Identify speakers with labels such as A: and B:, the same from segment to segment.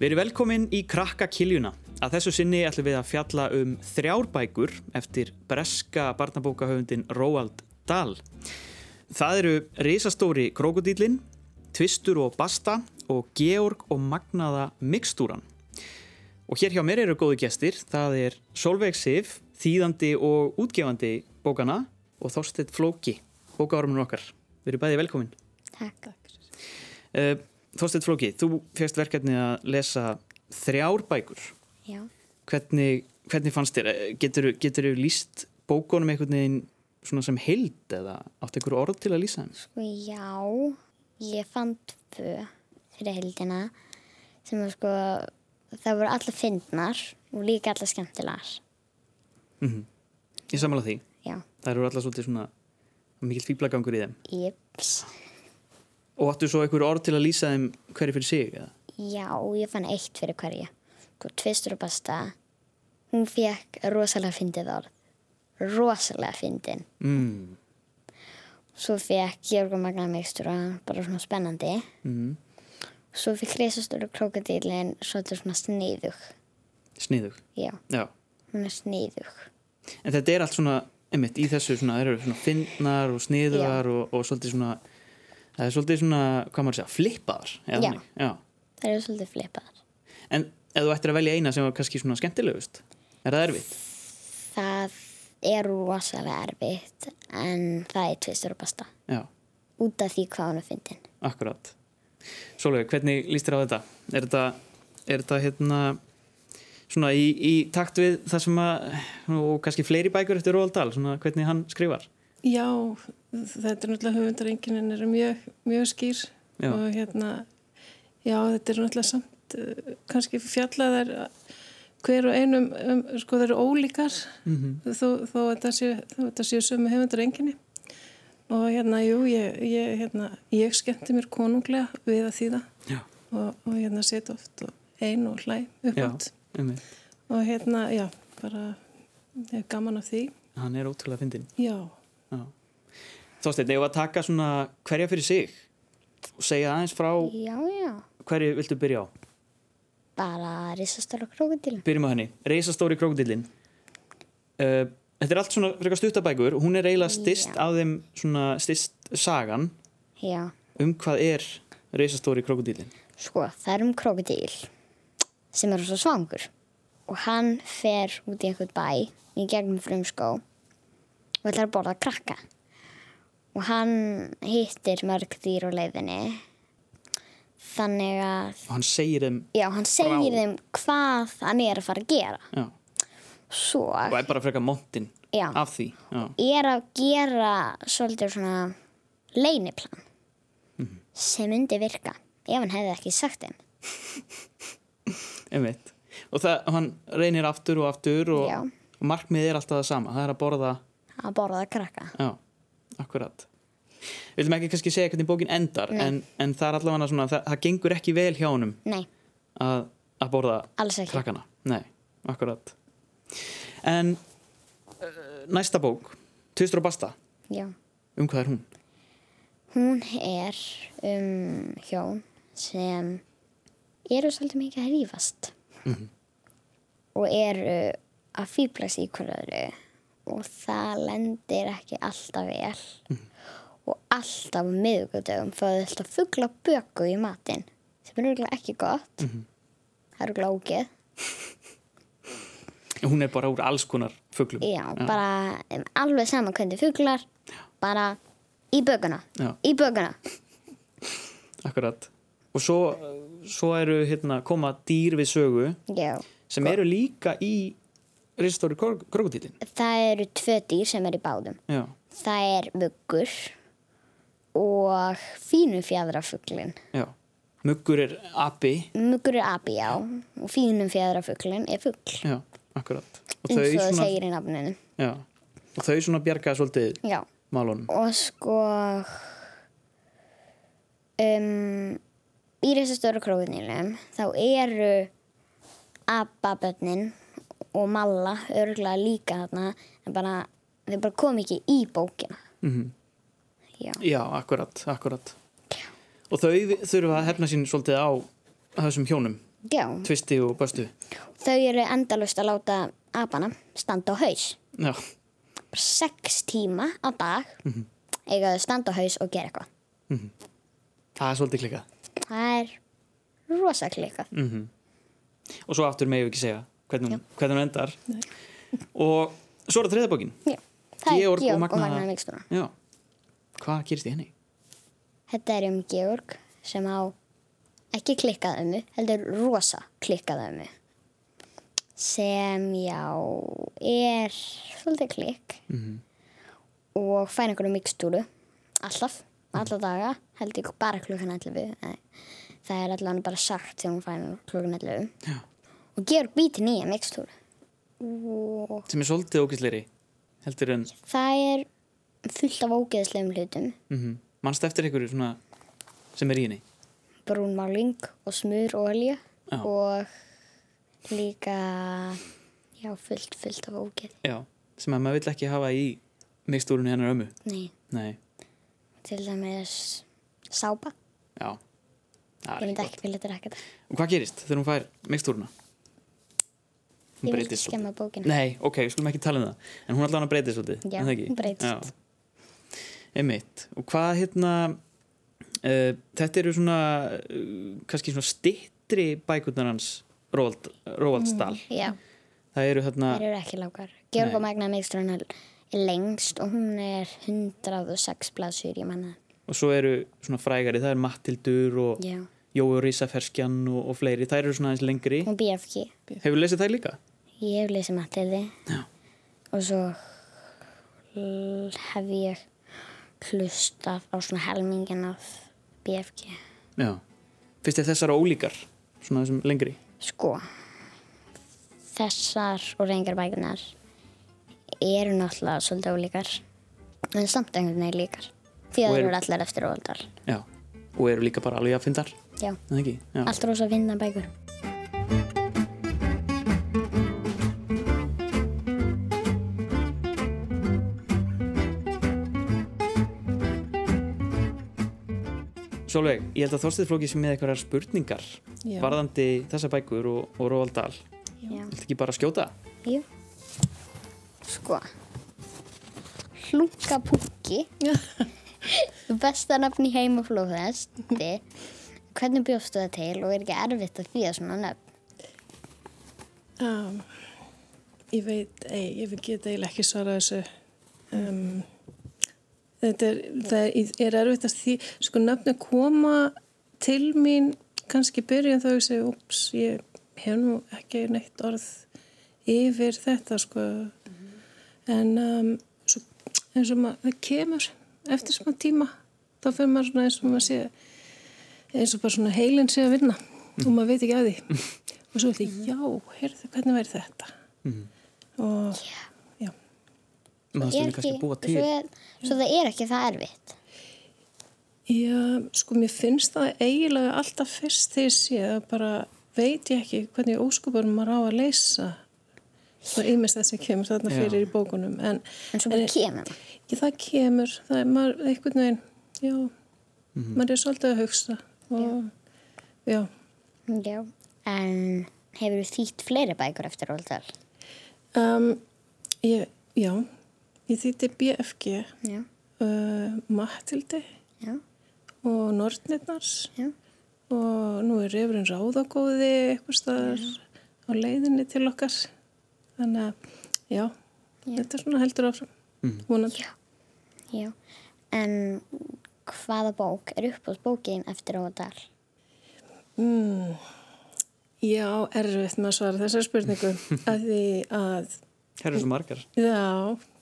A: Verið velkomin í Krakka Kiljuna. Að þessu sinni ætlum við að fjalla um þrjár bækur eftir breska barnabókahöfundin Roald Dahl. Það eru risastóri Krokodílin, Tvistur og Basta og Georg og Magnaða Mikstúran. Og hér hjá mér eru góði gestir. Það er Solveig Sif, þýðandi og útgefandi bókana og Þorstedt Flóki, bókaormin okkar. Verið bæði velkomin.
B: Takk.
A: Uh, Þorstedt Flóki, þú fyrst verkefni að lesa þrjár bækur.
B: Já.
A: Hvernig, hvernig fannst þér? eh, Getur þú líst bókunum einhvern veginn svona sem heild eða átt einhver orð til að lýsa þeim?
B: Sko já, ég fann tvö fyrir heldina sem var sko, það voru allar fyndnar og líka allar skemmtilegar.
A: Ég samála því.
B: Já,
A: Það eru alltaf svolítið svona mikill fýblagangur í þeim.
B: jöps.
A: Og áttu svo einhver orð til að lýsa þeim hverju fyrir sig? Eða?
B: Já, ég fann eitt fyrir hverja. Sko tvistur og basta, hún fekk rosalega fyndið orð. Rosalega fyndin.
A: Mm.
B: Svo fekk Georg og Magna Mixtur bara svona spennandi.
A: Mm.
B: Svo fekk Krisastóru krokodílinn svolítið svona sniðug.
A: Sniðug.
B: Já,
A: Já.
B: hún er sniðug.
A: En þetta er allt svona, einmitt, í þessu svona, það eru svona finnar og sniðugar og, og svolítið svona, það er svolítið svona, hvað maður segja, flippaðar. eða
B: Já.
A: þannig. Já.
B: Það eru svolítið flipaðar.
A: En ef þú ættir að velja eina sem var kannski svona skemmtilegust, er það erfitt?
B: Það er rosalega erfitt en það er tvistur og basta.
A: Já.
B: Út af því hvað hún er fyndin.
A: Akkurát. Sólveig, hvernig líst þér á þetta? Er þetta, er þetta hérna, svona í, í takt við það sem að, og kannski fleiri bækur eftir Róald Dahl, svona hvernig hann skrifar?
C: Já, þetta er náttúrulega höfundarengininn eru mjög, mjög skýr
A: Já.
C: og hérna, já þetta er náttúrulega samt, eh, kannski fjallaðar hver og einum, um, sko það eru ólíkar
A: Mhm,
C: þó, þó að þetta séu, þó að þetta séu sömu höfundarenginni og hérna, jú, ég, ég, hérna, ég skemmti mér konunglega við að þýða
A: Já.
C: og, og hérna set oft og ein og hlæ
A: Já,
C: uppátt
A: einmitt.
C: og hérna, já, bara, ég er gaman af því,
A: Hann er ótrúlega fyndin.
C: já.
A: Já. Þorsteinn, eigum við að taka svona hverja fyrir sig og segja aðeins frá
B: Já, já.
A: hverju viltu byrja á?
B: Bara risastóra krokodil.
A: Byrjum á henni, Reisastóri krókdillin. Uh, þetta er allt svona frekar stuttabækur, hún er eiginlega stist
B: Já.
A: af þeim svona stist sagan
B: Já.
A: um hvað er Reisastóri krókdillin.
B: Sko, það er um krokodil sem er svo svangur. Og hann fer út í einhvern bæ í gegnum frumskó og ætlar að borða krakka. Og hann hittir mörg dýr á leiðinni. Þannig að,
A: og hann segir þeim
B: já, hann segir
A: Vá.
B: þeim hvað hann er að fara að gera.
A: já,
B: Svo
A: og er bara frekar montin
B: Já.
A: af því já,
B: er að gera svolítið svona leiniplan sem myndi virka ef hann hefði ekki sagt þeim.
A: einmitt og það, hann reynir aftur og aftur
B: Já.
A: og, og markmiðið er alltaf það sama það er að borða,
B: að borða krakka.
A: já, akkurat við viljum ekki kannski segja hvernig bókin endar en, en það er allavega svona, það, það gengur ekki vel hjá honum
B: Nei,
A: að, að borða
B: Alls ekki.
A: krakkana nei, akkurat en uh, næsta bók Tvistur og Basta,
B: já.
A: um hvað er hún?
B: Hún er um hjón sem eru svolítið mikið að rífast og eru að fýblast í hverju öðru og það lendir ekki alltaf vel og alltaf á miðugudögum fóðu alltaf fugla böku í matinn sem er örugglega ekki gott það eru glókið
A: Hún er bara úr alls konar fuglum
B: já, bara um, alveg sama hvernig fuglar bara í bökuna
A: Já.
B: í bökuna
A: Akkurat. Og svo, svo eru hérna, koma dýr við sögu
B: já
A: sem eru líka í Ristóri krokodillin.
B: Það eru tvö dýr sem er í báðum.
A: Já,
B: Það er muggur og fínu fjadrafuglin.
A: já. Muggur er api.
B: Muggur er api, já, og fínu fjadrafuglin er fugl.
A: Já, akkurat. Og
B: eins
A: þau
B: og það
A: svona,
B: segir í nafninu.
A: já, og þau svona bjarga svolítið
B: Já,
A: málunum.
B: og sko, um, í þessu stóru krókinilum þá eru ababötnin og malla örgulega líka þarna, en bara, þau bara kom ekki í bókina.
A: Mhm.
B: Já,
A: Já, akkurat, akkurat. Og þau vi- þurfa að hefna sín svolítið á þessum hjónum
B: Já,
A: tvisti og böstu
B: þau eru endalust að láta apana standa á haus.
A: já,
B: Bara sex tíma á dag
A: Mhm.
B: eiga þau að standa á haus og gera eitthvað.
A: það er svolítið klikað
B: Það er rosakleika. Mm.
A: og svo aftur megum við ekki segja hvernig, hún- hvernig hún endar og svo er það þriða bókin
B: Já, það
A: Georg og
B: er Georg og
A: Magna-
B: Magna, Magna Mikstuna.
A: já, hvað gerist í henni?
B: Þetta er um Georg sem á ekki klikkað ömmu, heldur rosa klikkað ömmu sem já er svolítið klikk og fær einhverju mikstúru alltaf, alla daga held ég bara klukkan 11 Nei, það er allan bara sagt þegar hún fær hana klukkan 11
A: Já.
B: og Georg býtir nýja mikstúru og
A: sem er svolítið ógæsleiri heldur en,
B: það er fullt af ógeðslegum hlutum
A: mm mannst eftir einhverju svona sem er í henni
B: brún máling og smur og olja
A: Já.
B: og líka já, fullt, fullt af ógeð
A: já, sem að maður vill ekki hafa í mikstúrunni hennar ömmu
B: nei,
A: nei,
B: til dæmis sápa,
A: já Það
B: ég
A: er
B: myndi
A: ekki gott.
B: ekki vilja drakka það
A: og hvað gerist þegar hún fær mikstúruna?
B: ég vil ekki skemma bókina
A: Nei, ok, við skulum ekki tala um það En hún allan að breytist svolítið
B: Já,
A: er það ekki?
B: hún breytist.
A: Já. Einmitt, og hvað hérna uh, Þetta eru svona uh, kannski svona stittri bækurnar hans Róald, Róaldsdal
B: já,
A: Það eru þarna
B: þeir Mm. eru ekki lágar Georg
A: Nei.
B: og Magna Meistrann er lengst og hún er 106 blaðsur, ég manna
A: og svo eru svona frægari, það er Mattildur og
B: já,
A: Jói Rísaferskjan og, og fleiri, það eru svona aðeins lengri
B: hún BFG
A: Hefur lesið þær líka?
B: ég hef lesið Matildi
A: Já.
B: og svo l- hef ég hlustað á svona helmingin af BFG
A: Já Fyrst er þessar ólíkar, svona þessum lengri
B: sko þessar og reyngar bækunar eru náttúrulega svolítið ólíkar en samt einhvern veginn líkar því
A: Og
B: að það
A: eru-
B: eru allar eftir óaldar
A: Já, og eru líka bara alveg að fyndar
B: já,
A: Það ekki? Já.
B: allt rosa að finna bækur
A: Sólveig, ég held að Þorsteinn Flóki sem með eitthvaðar spurningar
C: Já.
A: varðandi þessa bækur og, og Róald Dahl
B: já.
A: Viltu ekki bara skjóta?
B: Jú. Sko. Hlunkapúki. Besta nafn í heim og flóðhesti. Hvernig bjóstu það til og er ekki erfitt að þýða svona nöfn?
C: Um, ég veit, ei, ég get eiginlega ekki svarað þessu. Um, þetta er, það er, er erfitt að því, sko, nöfni koma til mín, kannski í byrjun þá ég segi, ups, ég hef nú ekki neitt orð yfir þetta, sko. En um, svo, eins og maður, það kemur eftir smá tíma, þá fyrir maður svona eins og maður sé, eins og bara svona heilin sé að vinna og maður veit ekki að því. og svo ætti, já, heyrðu, hvernig væri þetta? Og, já,
A: Maður
B: Er
A: stundir kannski
B: ekki-
A: að búa til
B: Svo, er, svo það er ekki það erfitt.
C: já, sko, mér finnst það eiginlega alltaf fyrst þegar ég sé það bara veit ég ekki hvernig óskuparum maður á að leysa og ímest þess að kemur þarna
A: Já.
C: fyrir í bókunum, en,
B: En svo
A: Eh.
B: bara kemur það.
C: ekki, það kemur, það er maður einhvern veginn, já, maður er svolítið að hugsa og, já.
B: Já. En hefur þú þýtt fleiri bækur eftir óldal?
C: Um, ég, já, ég þýtti BFG,
B: Já.
C: uh, Matildi
B: Já.
C: og Nortnirnars.
B: Já.
C: og nú er refurinn ráðagóði eitthvað staðar á leiðinni til okkar þannig að já, þetta er svona heldur áfram vonandi
B: Já. Já. En hvaða bók er uppáðs bókin eftir óldal?
C: mm, já, erfitt með að svara þessari spurningu að því að
A: Það eru svo margar
C: já,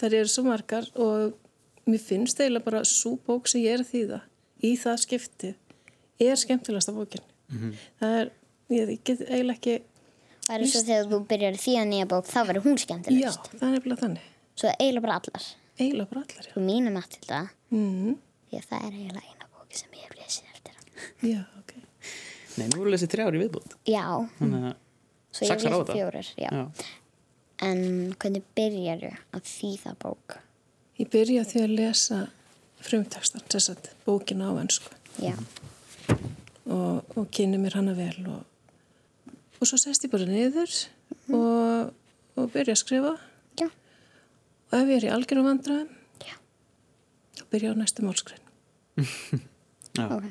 C: þær eru svo margar og mér finnst eiginlega bara svo bók sem ég er að þýða í það skiptið er skemmtilegasta bókin það er, ég ég get eiginlega ekki
B: Það er svo þegar þú byrjar því að nýja bók, þá verður hún
C: já,
B: skemmtilegust.
C: það er nefnilega þannig
B: Svo það er eiginlega bara allar.
C: eiginlega bara allar, já
B: Þú mínum að til það,
C: mm,
B: því að það er eiginlega eina bóki sem ég hef lesið eftir hann.
C: já, ok
A: Nei, nú erum við lesið þrjári viðbútt
B: Já,
A: Þannig að
B: svo ég hef
A: Saxar á
B: lesið
A: þetta?
B: fjórir. Já.
A: Já.
B: En hvernig byrjar þú að þýða bók?
C: Ég byrja á því að lesa frumtekstan, þess að
A: Mhm.
C: bókina á ennsku
B: Já,
C: og, og kynni mér hana vel og og svo sest ég bara niður
A: Mhm.
C: og, og byrja að skrifa
B: Já.
C: og ef ég er í algjörum vandræðum
B: Já.
C: þá byrja ég á næstu málskrin
A: Já.
B: Ok.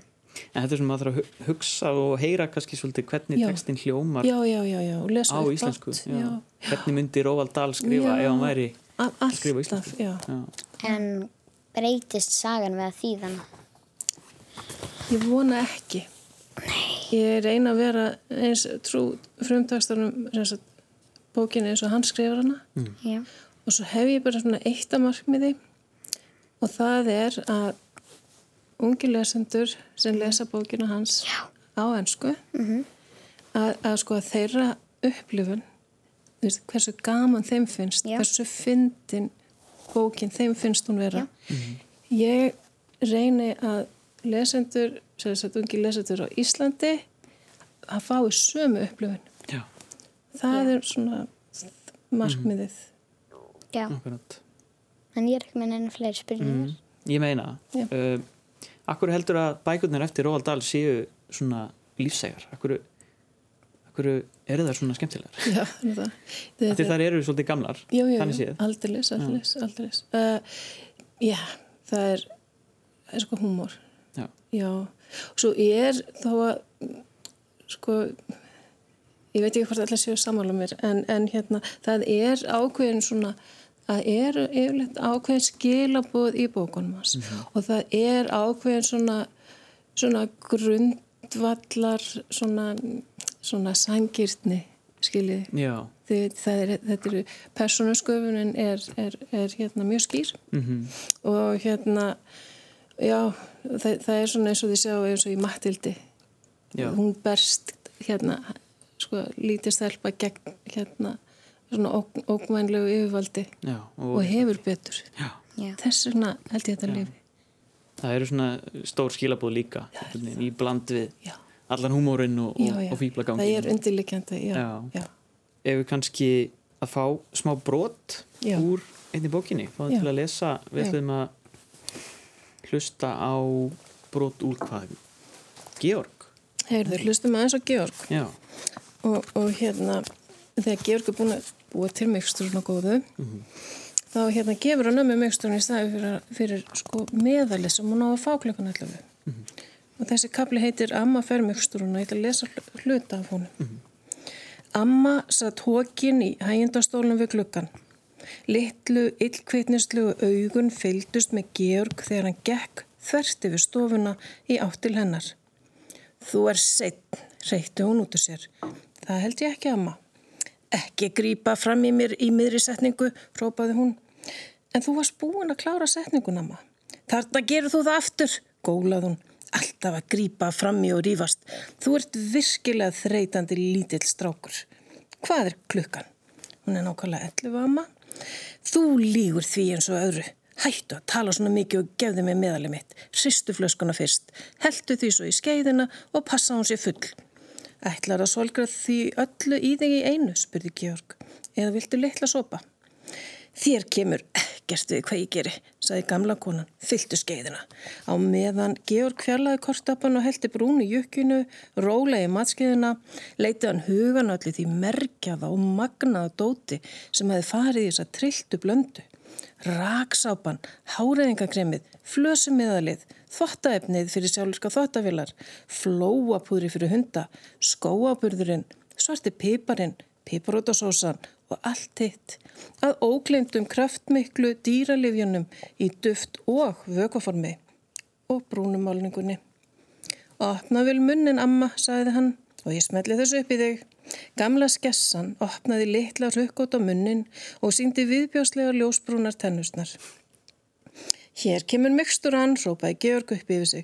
A: En þetta er svona maður þarf að hu- hugsa og heyra kannski svolítið hvernig
C: Já.
A: textin hljómar
C: já, já, já, já, og lesa
A: á
C: upphátt,
A: íslensku. Já.
C: já.
A: Hvernig myndi Róald Dahl skrifa
C: Já.
A: ef hann væri...
C: A-
A: Skrifa á
C: alltaf,
A: íslensku.
C: já
A: Já.
B: En breytist sagan við að þýðan?
C: ég vona ekki ég reyna að vera eins trú frumtækstunum bókinu eins og hann skrifar hana
B: Já.
C: og svo hef ég bara svona eitt að markmiði og það er að ungi lesendur sem lesa bókinu hans
B: Já. Mhm.
C: á ennsku að, að sko að þeirra upplifun þú veist, hversu gaman þeim finnst
B: Já.
C: hversu fyndin bókin þeim finnst hún vera
B: Mhm.
C: ég reyni að lesendur, sem sagt ungi lesendur á Íslandi að fái sömu upplifun
A: Já,
C: það er svona markmiðið
B: Já. Mhm.
A: akkurat. Mhm.
B: En ég er ekki með neina fleiri spurningar.
A: Ég meina,
C: Já.
A: uh, akkur heldur að bækurnar eftir Róald Dahl séu svona lífsægar? Akkur, akkur eru þær svona skemmtilegar?
C: Já, það er það.
A: Af Því þær eru svolítið gamlar,
C: já, já,
A: þannig
C: já,
A: séð.
C: aldeilis, aldeilis, aldeilis. Uh, já, það er, það er sko húmor.
A: Já.
C: Já, og svo ég er þá að, mm, sko, ég veit ekki hvort allir séu sammála mér, en, en hérna, það er ákveðin svona, það er yfirleitt ákveðin skilaboð í bókunum hans
B: Mhm.
A: Mm.
C: og það er ákveðin svona, svona grundvallar, svona, svona sangirtni, skiljiði.
A: Já,
C: Þið, það er, þetta eru persónusköfunin er, er, er hérna mjög skýr
A: mhm,
C: og hérna já, það, það er svona eins og þið sjá eins og í Mattildi
A: já,
C: hún berst hérna sko lítið stelpa gegn hérna svona ógn, ógnvænlegu yfirvaldi
A: já.
C: og hefur betur
A: Já,
B: Já.
C: þess vegna held ég þetta lifi
A: það eru svona stór skilabóð líka, einhvern veginn, í bland við
C: já,
A: allan húmórinn og,
C: já,
A: og,
C: já.
A: og fýblagangin.
C: það er undirliggjandi já,
A: Já.
C: já.
A: ef við kannski að fá smá brot
C: Já.
A: úr einni bókinni fá það
C: Já.
A: til að lesa, við
C: Já.
A: ætlum að hlusta á brot úr hvað Georg,
C: heyrðu, hlustum aðeins á Georg
A: já,
C: og, og hérna þegar Georg er búin að búa til miksturinn og góðu þá hérna gefur hann ömmu miksturinn í staði fyrir, fyrir sko meðalið sem hún á að fá klukkan allavega og þessi kapli heitir Amma fer miksturinn og ég ætla að lesa hl- hluta af honum Amma satt hókin í hægindastólum við gluggan litlu, illkveitnislu og augun fylgdust með Georg þegar hann gekk þvert yfir stofuna í áttil hennar Þú er seitt, reytti hún út úr sér. Það held ég ekki, amma. Ekki grípa fram í mér í miðri setningu, própaði hún. En þú varst búin að klára setningun, amma. Þarna gerur þú það aftur, gólað hún. Alltaf að grípa fram í og rífast. Þú ert virkilega þreytandi lítill strákur. Hvað er klukkan? Hún er nákvæmlega 11, amma. Þú lígur því eins og öðru. Hættu að tala svona mikið og gefðu mér meðalið mitt. Hristu flöskuna fyrst. Heltu því svo í skeiðina og passa hún sér full. Ætlar að solgra því öllu í þig í einu, spurði Georg. Eða viltu litla sopa? Þér kemur ekkert við hvað ég geri, sagði gamla konan, fylltu skeiðina. Á meðan Georg fjarlæði kortapan og heldi brún í jukkinu, rólaði í matskeiðina, leiti hann hugan allir því merkjaða og magnaða dóti sem hefði farið í þessa trilltu blöndu. Raksápan, háreðingakremið, flösumiðalið, þvottaefnið fyrir sjálfurka þvottavilar, flóapúðri fyrir hunda, skóaburðurinn, svarti piparinn, piparótasósan og allt hitt. Að óglemdum kraftmiklu dýralifjunum í duft og vökuformi og brúnumálningunni. Opna vil munnin, amma, sagði hann og ég smelli þessu upp í þig. Gamla skessan opnaði litla rukkót á munnin og síndi viðbjóslega ljósbrúnar tennusnar. Hér kemur mygstur hann, rópaði Georg upp yfir sig.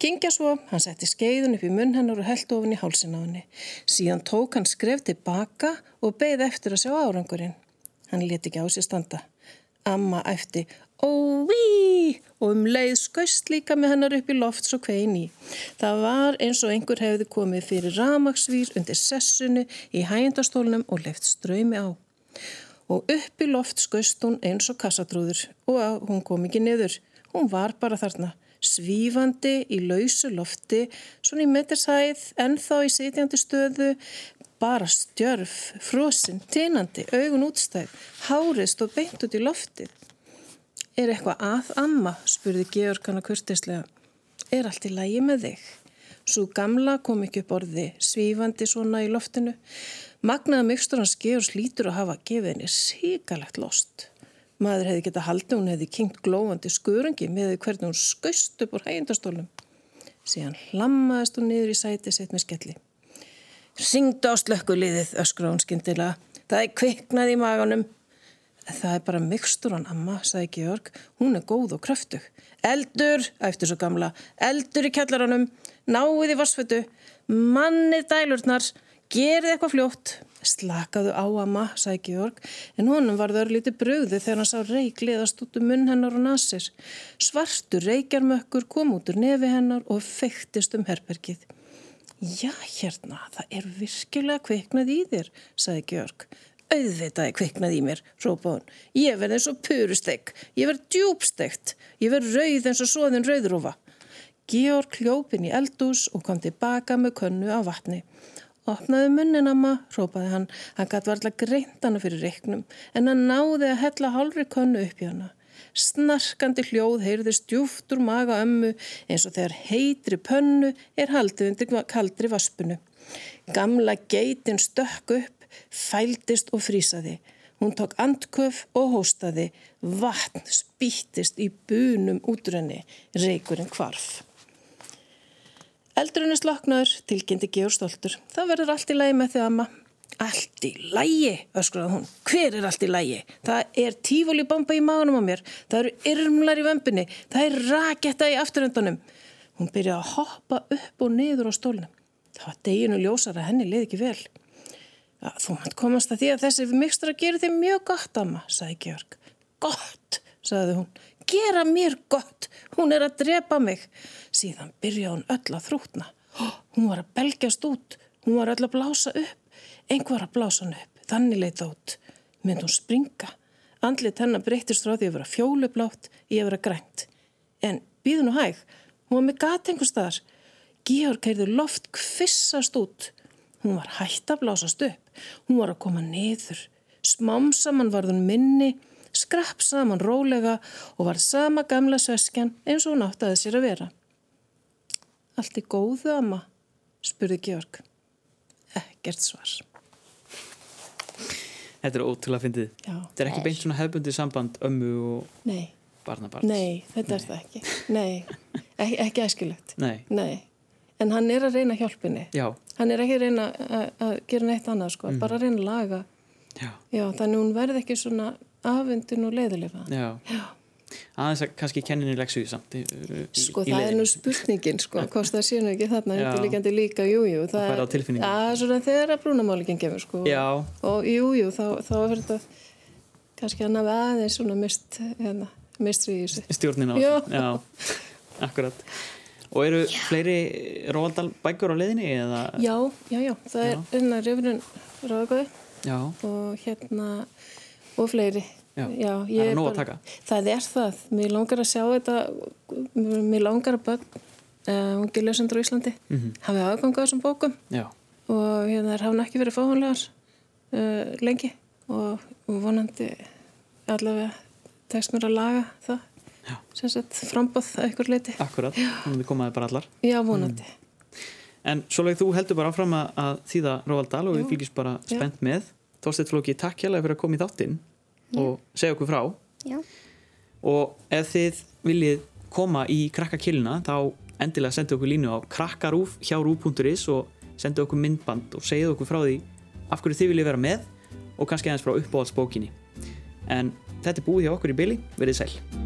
C: Gingja svo, hann setti skeiðun upp í munn hennar og held ofin í hálsin á henni. Síðan tók hann skref tilbaka og beigð eftir að sjá árangurinn. Hann leti ekki á sér standa. Amma eftir, óví, og um leið skauðst líka með hennar upp í loft svo kvein í. Það var eins og einhver hefði komið fyrir ramaksvír undir sessunu í hægindastólnum og leift ströymi á og upp í loft skust hún eins og kassatrúður og að hún kom ekki niður. Hún var bara þarna, svífandi í lausu lofti, svona í metersæð, ennþá í sitjandi stöðu, bara stjörf, frosin, tinandi, augun útstæð, hárið stóð beint út í loftið. Er eitthvað að amma, spurði Georg hana kurtislega. Er allt í lægi með þig? Svo gamla kom ekki upp orði, svífandi svona í loftinu. Magnaða mygstur hans Georgs lítur að hafa gefið henni síkalegt lost. Maður hefði getað haldið, hún hefði kynkt glófandi skurungi með því hvernig hún skaust upp úr hægindastólum. Síðan hlammaðist hún niður í sæti sitt með skelli. Ringdu á slökkuliðið, öskra hún skyndilega. Það er kviknað í maganum. Það er bara myggsturan, amma, sagði Georg. Hún er góð og kröftug. Eldur, æftu svo gamla, eldur í kjallaranum, náið í varsfötu, mannið dælurnar, gerði eitthvað fljótt. Slakaðu á, amma, sagði Georg, en honum varður lítið bröði þegar hann sá reik liðast út um munn hennar og nasir. Svartur reikjarmökkur kom út úr nefi hennar og feiktist um herbergið. Já, hérna, það er virkilega kviknað í þér, sagði Georg. Auðvitað er kviknað í mér, rópa hún. Ég verð eins og purustegg, ég verð djúbstegt, ég verð rauð eins og svoðin rauðrófa. Georg hljópin í eldús og kom tilbaka með könnu á vatni. Opnaði munnin amma, rópaði hann. Hann gatt varla greint hana fyrir reiknum, en hann náði að hella hálfri könnu upp í hana. Snarkandi hljóð heyrði stjúftur maga ömmu eins og þegar heitri pönnu er haldið undir kaldri vaspunu. Gamla geitin stökk upp, fældist og frísaði. Hún tók andköf og hóstaði. Vatn spýttist í bunum útrunni, reykurinn kvarf. Eldrunni sloknaður, tilkynnti Georg Stoltur. Það verður allt í lægi með því amma. Allt í lægi, öskraði hún. Hver er allt í lægi? Það er tífólibamba í maganum á mér. Það eru yrmlar í vömbinni. Það er raketta í afturöndunum. Hún byrjaði að hoppa upp og niður á stólunum. Það var deginu ljósara, henni leiði ekki vel. Ja, þú mann komast að því að þessi mikstra gerir þig mjög gott, amma, sagði Georg. Gott, sagði hún. Gera mér gott. Hún er að drepa mig. Síðan byrjaði hún öll að þrútna. Hún var að belgjast út. Hún var öll að blása upp. Einhver að blása hann upp, þannig leitt átt. Mynd hún springa. Andlit hennar breytist frá því að vera fjólublátt í að vera grænt. En býðu nú hæg, hún var með gat einhver staðar. Georg heyrði loft kvissast út. Hún var hætt að blásast upp. Hún var að koma niður. Smám saman varð hún minni, skrapp saman rólega og varð sama gamla sveskjan eins og hún áttaði sér að vera. Allt í góðu, amma, spurði Georg. Ekkert svar.
A: Þetta er ótrúlega fyndið.
C: Já.
A: Þetta er ekki beint svona hefbundið samband ömmu og
C: Nei,
A: barnabarns.
C: nei, þetta er það ekki. Nei, ekki, ekki æskilegt.
A: Nei.
C: Nei, en hann er að reyna hjálpinni.
A: Já,
C: Hann er ekki að reyna að að gera neitt annað, sko, bara að reyna að laga.
A: já,
C: Já, þannig hún verði ekki svona afundin og leiðilega.
A: já.
C: Já,
A: Aðeins að kannski kenninni leksu því samt. Í, í,
C: sko,
A: í
C: það er
A: leiðinni.
C: nú spurningin, sko, hvort það séu nú ekki þarna,
A: Já.
C: undirlíkandi líka, jú, jú.
A: Það fær á tilfinninguna.
C: Já, svona þegar að brúnamálingin gefur, sko.
A: Já,
C: Og jú, jú, þá, þá er þetta kannski hann hafi aðeins svona mist, hérna, mistrið í þessu.
A: stjórnin á.
C: Já.
A: þessu. Já, akkurat. Og eru fleiri Róaldal bækur á leiðinni eða?
C: Já, já, já, það er unna rifrun ráðgóði
A: Já,
C: og hérna og fleiri.
A: Já,
C: ég
A: það er
C: er
A: nóg að
C: bara-
A: taka.
C: Það er það, mér langar að sjá þetta, mér langar að börn, uh, ungi lesendur á Íslandi,
A: Mhm.
C: hafi aðgang á þessum bókum
A: já,
C: og hérna þær hafna ekki verið fáhónlegar uh, lengi og, og vonandi allavega tekst mér að laga það,
A: Já.
C: sem sagt frambóð að ykkur leiti.
A: akkurat. Þannig við komaði bara allar.
C: Já, vonandi.
A: En svoleið þú heldur bara áfram að- að þýða Róaldal og við fylgjum bara
C: Já.
A: spennt með. Þorsteit Flóki, takk hérlega fyrir að koma í þáttinn og segja okkur frá.
B: Já.
A: og ef þið viljið koma í krakkakilina þá endilega sendu okkur línu á krakkarúf hjá rúf.is og sendu okkur myndband og segið okkur frá því af hverju þið viljið vera með og kannski aðeins frá uppáhaldsbókinni en þetta er búið hjá okkur í byli, verið sæl